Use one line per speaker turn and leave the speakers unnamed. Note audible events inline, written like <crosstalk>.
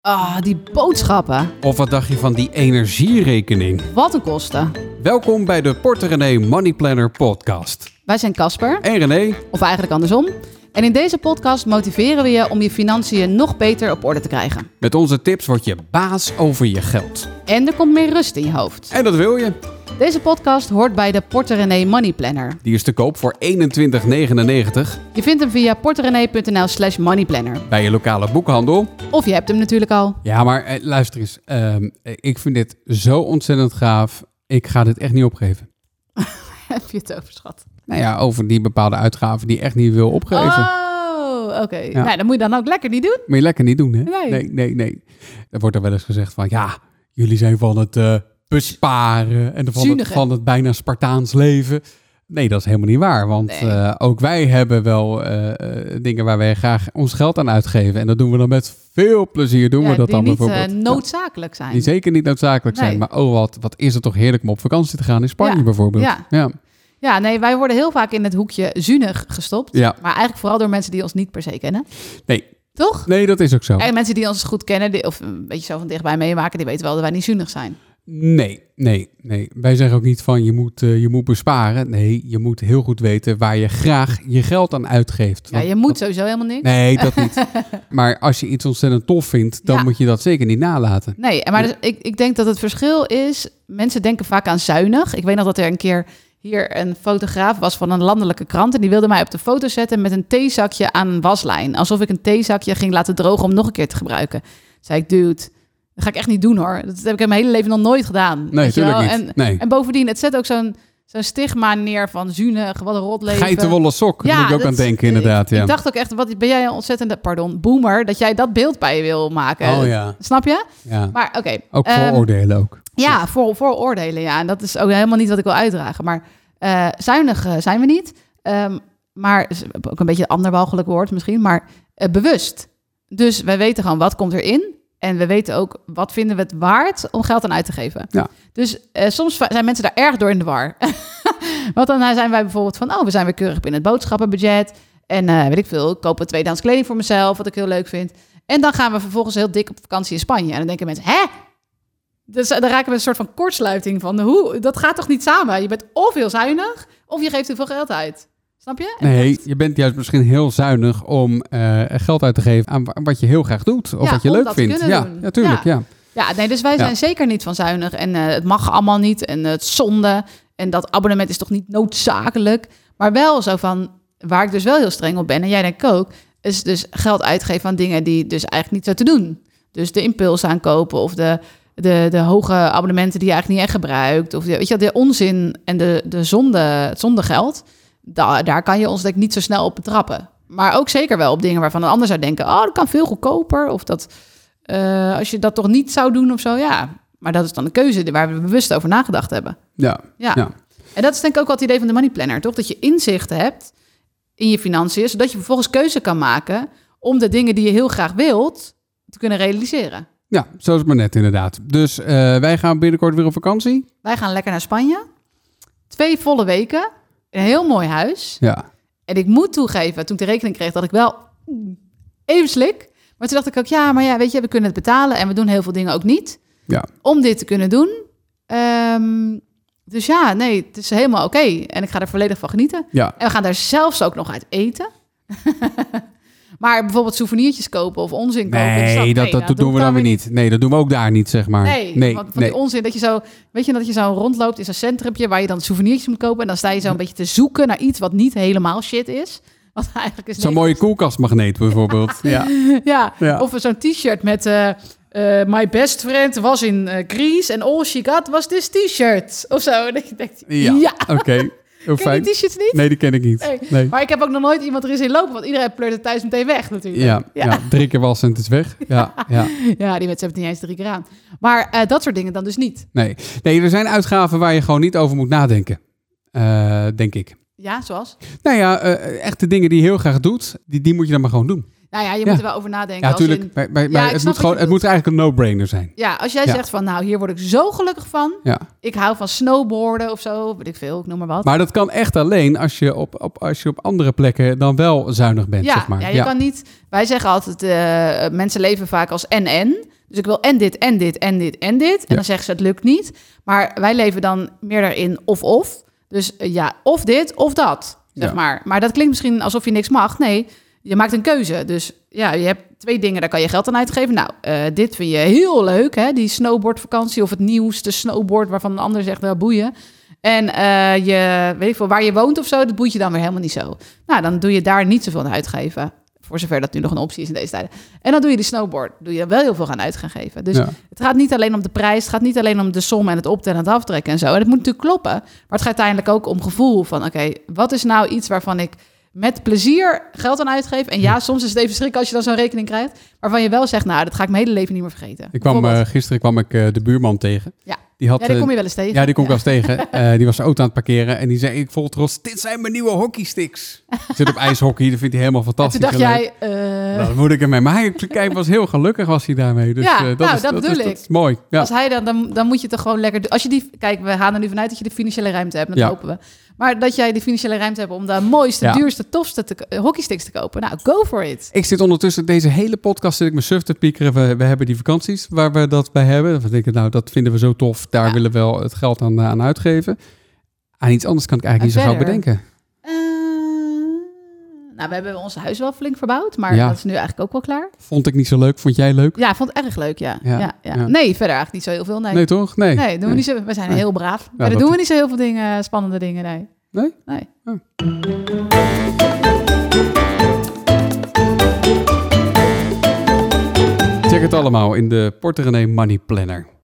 Ah, die boodschappen.
Of wat dacht je van die energierekening?
Wat een kosten.
Welkom bij de Porter René Money Planner podcast.
Wij zijn Casper,
En René,
of eigenlijk andersom. En in deze podcast motiveren we je om je financiën nog beter op orde te krijgen.
met onze tips word je baas over je geld.
En er komt meer rust in je hoofd.
En dat wil je.
Deze podcast hoort bij de Porter René Money Planner.
Die is te koop voor 21,99
Je vindt hem via porterrené.nl slash moneyplanner.
bij je lokale boekhandel.
Of je hebt hem natuurlijk al.
Ja, maar eh, luister eens. Ehm, ik vind dit zo ontzettend gaaf. Ik ga dit echt niet opgeven.
<laughs> Heb je het overschat?
Nou ja, over die bepaalde uitgaven die je echt niet wil opgeven.
Oh, oké.
Ja.
Nou, dat moet je dan ook lekker niet doen.
Moet je lekker niet doen, hè?
Nee.
nee, nee. nee. Er wordt er wel eens gezegd van, ja, jullie zijn van het eh, besparen en van het,
Zuinigen.
van het bijna Spartaans leven. Nee, dat is helemaal niet waar, want
Nee.
eh, ook wij hebben wel eh, eh, dingen waar wij graag ons geld aan uitgeven. En dat doen we dan met veel plezier, doen
Ja,
we dat
die
dan
niet eh,
bijvoorbeeld.
noodzakelijk zijn.
Ja, die zeker niet noodzakelijk zijn,
Nee.
maar oh wat, wat is het toch heerlijk om op vakantie te gaan in Spanje
Ja,
bijvoorbeeld.
ja.
ja.
Ja, nee, wij worden heel vaak in het hoekje zuinig gestopt.
Ja.
Maar eigenlijk vooral door mensen die ons niet per se kennen.
Nee.
Toch?
Nee, dat is ook zo.
En mensen die ons goed kennen, die, of een beetje zo van dichtbij meemaken, die weten wel dat wij niet zuinig zijn.
Nee, nee, nee. Wij zeggen ook niet van je moet, eh, je moet besparen. Nee, je moet heel goed weten waar je graag je geld aan uitgeeft.
Ja,
Want-
je moet sowieso helemaal niks.
Nee, dat
<laughs>
niet. maar als je iets ontzettend tof vindt, dan
Ja.
moet je dat zeker niet nalaten.
Nee, en maar dus, ik, ik denk dat het verschil is, mensen denken vaak aan zuinig. Ik weet nog dat er een keer hier een fotograaf was van een landelijke krant en die wilde mij op de foto zetten met een theezakje aan een waslijn. Alsof ik een theezakje ging laten drogen om nog een keer te gebruiken. Zei ik, dude, dat ga ik echt niet doen hoor. Dat heb ik in mijn hele leven nog nooit gedaan.
Nee,
Weet je
natuurlijk
wel?
niet.
En,
nee.
En bovendien, het zet ook zo'n zo'n stigma neer van zuinig, wat een rotleven.
Geitenwolle sok, daar
Ja,
moet je ook
dat
aan
is-
denken inderdaad.
Ik
Ja.
dacht ook echt, wat ben jij een ontzettende, pardon, boomer, dat jij dat beeld bij je wil maken.
Oh ja,
Snap je?
ja.
eh, Maar oké.
ook
ehm,
vooroordelen ook.
ja, voor, vooroordelen, ja. En dat is ook helemaal niet wat ik wil uitdragen. Maar eh, zuinig eh, zijn we niet. Ehm, maar is ook een beetje een ander walgelijk woord misschien, maar eh, bewust. Dus wij weten gewoon wat komt erin. En we weten ook wat vinden we het waard om geld aan uit te geven.
Ja.
Dus eh, soms va- zijn mensen daar erg door in de war. <laughs> Want dan zijn wij bijvoorbeeld van, oh, we zijn weer keurig binnen het boodschappenbudget. En eh, weet ik veel, ik koop een tweedehands kleding voor mezelf, wat ik heel leuk vind. En dan gaan we vervolgens heel dik op vakantie in Spanje. En dan denken mensen, hè? Dus eh, dan raken we een soort van kortsluiting van, hoe? Dat gaat toch niet samen? Je bent of heel zuinig, of je geeft te veel geld uit. Snap je? En
Nee,
dat-
je bent juist misschien heel zuinig om eh, geld uit te geven aan wa- aan wat je heel graag doet. Of
Ja,
wat je
om
leuk
dat te
vindt.
kunnen
Ja,
doen.
natuurlijk. Ja.
Ja, nee, dus wij
Ja.
zijn zeker niet van zuinig. En eh, het mag allemaal niet. En eh, het is zonde. En dat abonnement is toch niet noodzakelijk. Maar wel zo van, waar ik dus wel heel streng op ben, en jij denk ik ook, is dus geld uitgeven aan dingen die dus eigenlijk niet zo te doen. Dus de impuls aankopen of de, de, de hoge abonnementen die je eigenlijk niet echt gebruikt. Of de, weet je, wel, de onzin en de, de zonde, het zondegeld. Daar, daar kan je ons denk ik niet zo snel op betrappen. Maar ook zeker wel op dingen waarvan een ander zou denken... oh, dat kan veel goedkoper. Of dat, eh, als je dat toch niet zou doen of zo, ja. Maar dat is dan een keuze waar we bewust over nagedacht hebben.
Ja.
Ja.
Ja.
En dat is denk ik ook wel het idee van de money planner, toch? Dat je inzichten hebt in je financiën... zodat je vervolgens keuze kan maken om de dingen die je heel graag wilt... te kunnen realiseren.
ja, zo is het maar net inderdaad. Dus eh, wij gaan binnenkort weer op vakantie.
Wij gaan lekker naar Spanje. Twee volle weken. Een heel mooi huis.
Ja.
En ik moet toegeven, toen ik de rekening kreeg, dat ik wel even slik. Maar toen dacht ik ook, ja, maar ja, weet je, we kunnen het betalen en we doen heel veel dingen ook niet.
Ja.
Om dit te kunnen doen. Ehm, dus ja, nee, het is helemaal oké. En ik ga er volledig van genieten.
Ja.
En we gaan daar zelfs ook nog uit eten. <laughs> maar bijvoorbeeld souvenirtjes kopen of onzin kopen.
Nee,
snap-
dat, dat,
nou, doe
doen
ik
we dan weer niet. Nee, dat doen we ook daar niet, zeg maar.
Nee,
nee,
want van die onzin dat je zo, weet je, dat je zo rondloopt in zo'n centrumpje waar je dan souvenirtjes moet kopen en dan sta je zo een beetje te zoeken naar iets wat niet helemaal shit is. Wat eigenlijk is
Zo'n mooie koelkastmagneet bijvoorbeeld. ja.
<laughs> ja,
Ja.
of zo'n t-shirt met eh, eh, my best friend was in eh Greece en all she got was this t-shirt of zo. <laughs> En dat je denkt,
Ja,
ja,
oké. Heel
ken je
fijn.
die t-shirts niet?
Nee, die ken ik niet.
Nee.
Nee.
Maar ik heb ook nog nooit iemand erin zien lopen, want iedereen pleurt het thuis meteen weg natuurlijk.
Ja, ja. drie keer was en het is weg. Ja, ja.
<laughs> Ja, die mensen hebben het niet eens drie keer aan. Maar eh, dat soort dingen dan dus niet.
Nee. nee, er zijn uitgaven waar je gewoon niet over moet nadenken. Eh, denk ik.
Ja, zoals?
Nou ja, eh, echte dingen die je heel graag doet, die, die moet je dan maar gewoon doen.
Nou ja, je
Ja.
moet er wel over nadenken.
Ja,
als in-
natuurlijk. Maar, maar, maar
ik
het,
snap
moet
wat je
gewoon, het moet eigenlijk een no-brainer zijn.
ja, als jij
Ja.
zegt van, nou, hier word ik zo gelukkig van.
Ja.
Ik hou van snowboarden of zo, weet ik veel, ik noem maar wat.
Maar dat kan echt alleen als je op, op, als je op andere plekken dan wel zuinig bent,
ja,
zeg maar.
ja, je kan niet... Wij zeggen altijd, eh, mensen leven vaak als en-en. Dus ik wil en dit, en dit, en dit, en dit. En
Ja.
dan zeggen ze, het lukt niet. Maar wij leven dan meer daarin of-of. Dus eh, ja, of dit, of dat, zeg
Ja.
maar. Maar dat klinkt misschien alsof je niks mag. Nee, je maakt een keuze. Dus ja, je hebt twee dingen, daar kan je geld aan uitgeven. Nou, eh, dit vind je heel leuk, hè? Die snowboardvakantie of het nieuwste snowboard... waarvan een ander zegt, wel boeien. En eh, je, weet ik veel, waar je woont of zo, dat boeit je dan weer helemaal niet zo. Nou, dan doe je daar niet zoveel aan uitgeven. Voor zover dat nu nog een optie is in deze tijden. En dan doe je die snowboard. Doe je er wel heel veel aan uit gaan geven. Dus
Ja.
het gaat niet alleen om de prijs. Het gaat niet alleen om de som en het optellen en het aftrekken en zo. En het moet natuurlijk kloppen. Maar het gaat uiteindelijk ook om gevoel. Van oké, wat is nou iets waarvan ik met plezier geld aan uitgeef? En ja, soms is het even schrik als je dan zo'n rekening krijgt. Waarvan je wel zegt, nou, dat ga ik mijn hele leven niet meer vergeten.
Ik kwam,
Bijvoorbeeld.
eh, gisteren kwam ik eh, de buurman tegen.
Ja.
Die had,
ja, die
eh,
kom je wel eens tegen.
ja, die kom ik wel eens
<laughs>
tegen. Eh, die was zijn auto aan het parkeren en die zei ik vol trots, dit zijn mijn nieuwe hockeysticks. Ik zit op ijshockey, dat vindt hij helemaal
En toen
fantastisch.
dacht
en leuk.
jij... eh,
Nou, dan moet ik ermee. Maar hij kijk, was heel gelukkig was hij daarmee. Dus,
Ja,
eh, dat
nou,
is,
dat
dat
bedoel
is,
ik.
dat is mooi. Ja.
Als hij dan, dan, dan moet je toch gewoon lekker. doen. Als je die, kijk, we gaan er nu vanuit dat je de financiële ruimte hebt. Dat
Ja.
hopen we. Maar dat jij de financiële ruimte hebt om de mooiste,
Ja.
duurste, tofste te, eh, hockeysticks te kopen. Nou, go for it.
Ik zit ondertussen deze hele podcast zit ik me suf te piekeren. We, we hebben die vakanties waar we dat bij hebben. We denken, nou, dat vinden we zo tof. Daar
Ja.
willen we wel het geld aan, eh, aan uitgeven. Aan iets anders kan ik eigenlijk
En
niet zo gauw
verder?
bedenken.
Eh, nou, we hebben ons huis wel flink verbouwd. Maar
Ja.
dat is nu eigenlijk ook wel klaar.
Vond ik niet zo leuk. Vond jij leuk?
Ja, ik vond het erg leuk. Ja.
Ja,
Ja, ja,
ja.
Nee, verder eigenlijk niet zo heel veel. Nee,
Nee,
nee,
toch? Nee.
doen we, niet zo, we zijn
Nee.
heel braaf. maar
dat-
dan doen we niet zo heel veel dingen, eh, spannende dingen. Nee.
Nee?
Nee.
Oh. Check het allemaal in de Porter René Money Planner.